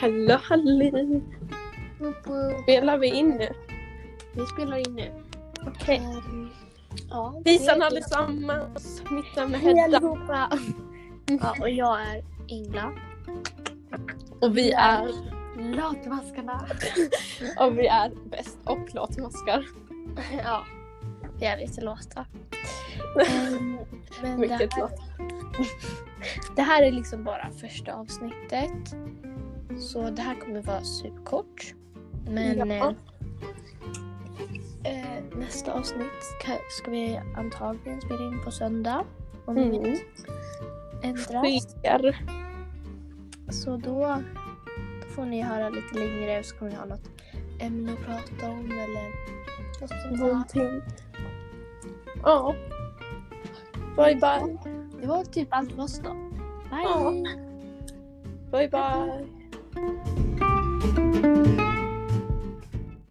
Hallå hallå! Woop woop. Spelar vi in nu? Vi spelar in nu. Okej. Ehm, ja, Hejsan det- allesammans! Mitt namn är Hej Hedda. allihopa! ja, och jag är Ingla. Och vi är, Latmaskarna. och vi är bäst och latmaskar. ja, vi är lite lata. Ehm, men det Mycket här, lat. det här är liksom bara första avsnittet. Så det här kommer vara superkort. Men Ja. eh, eh, nästa avsnitt ka- ska vi antagligen spela in på söndag. Om Mm. inget ändras. Sker. Så då, då får ni höra lite längre så kommer ni ha något ämne att prata om eller något sånt där. Någonting. Ja. Bye bye. Det var typ allt för oss då. Bye! Ja. Bye bye.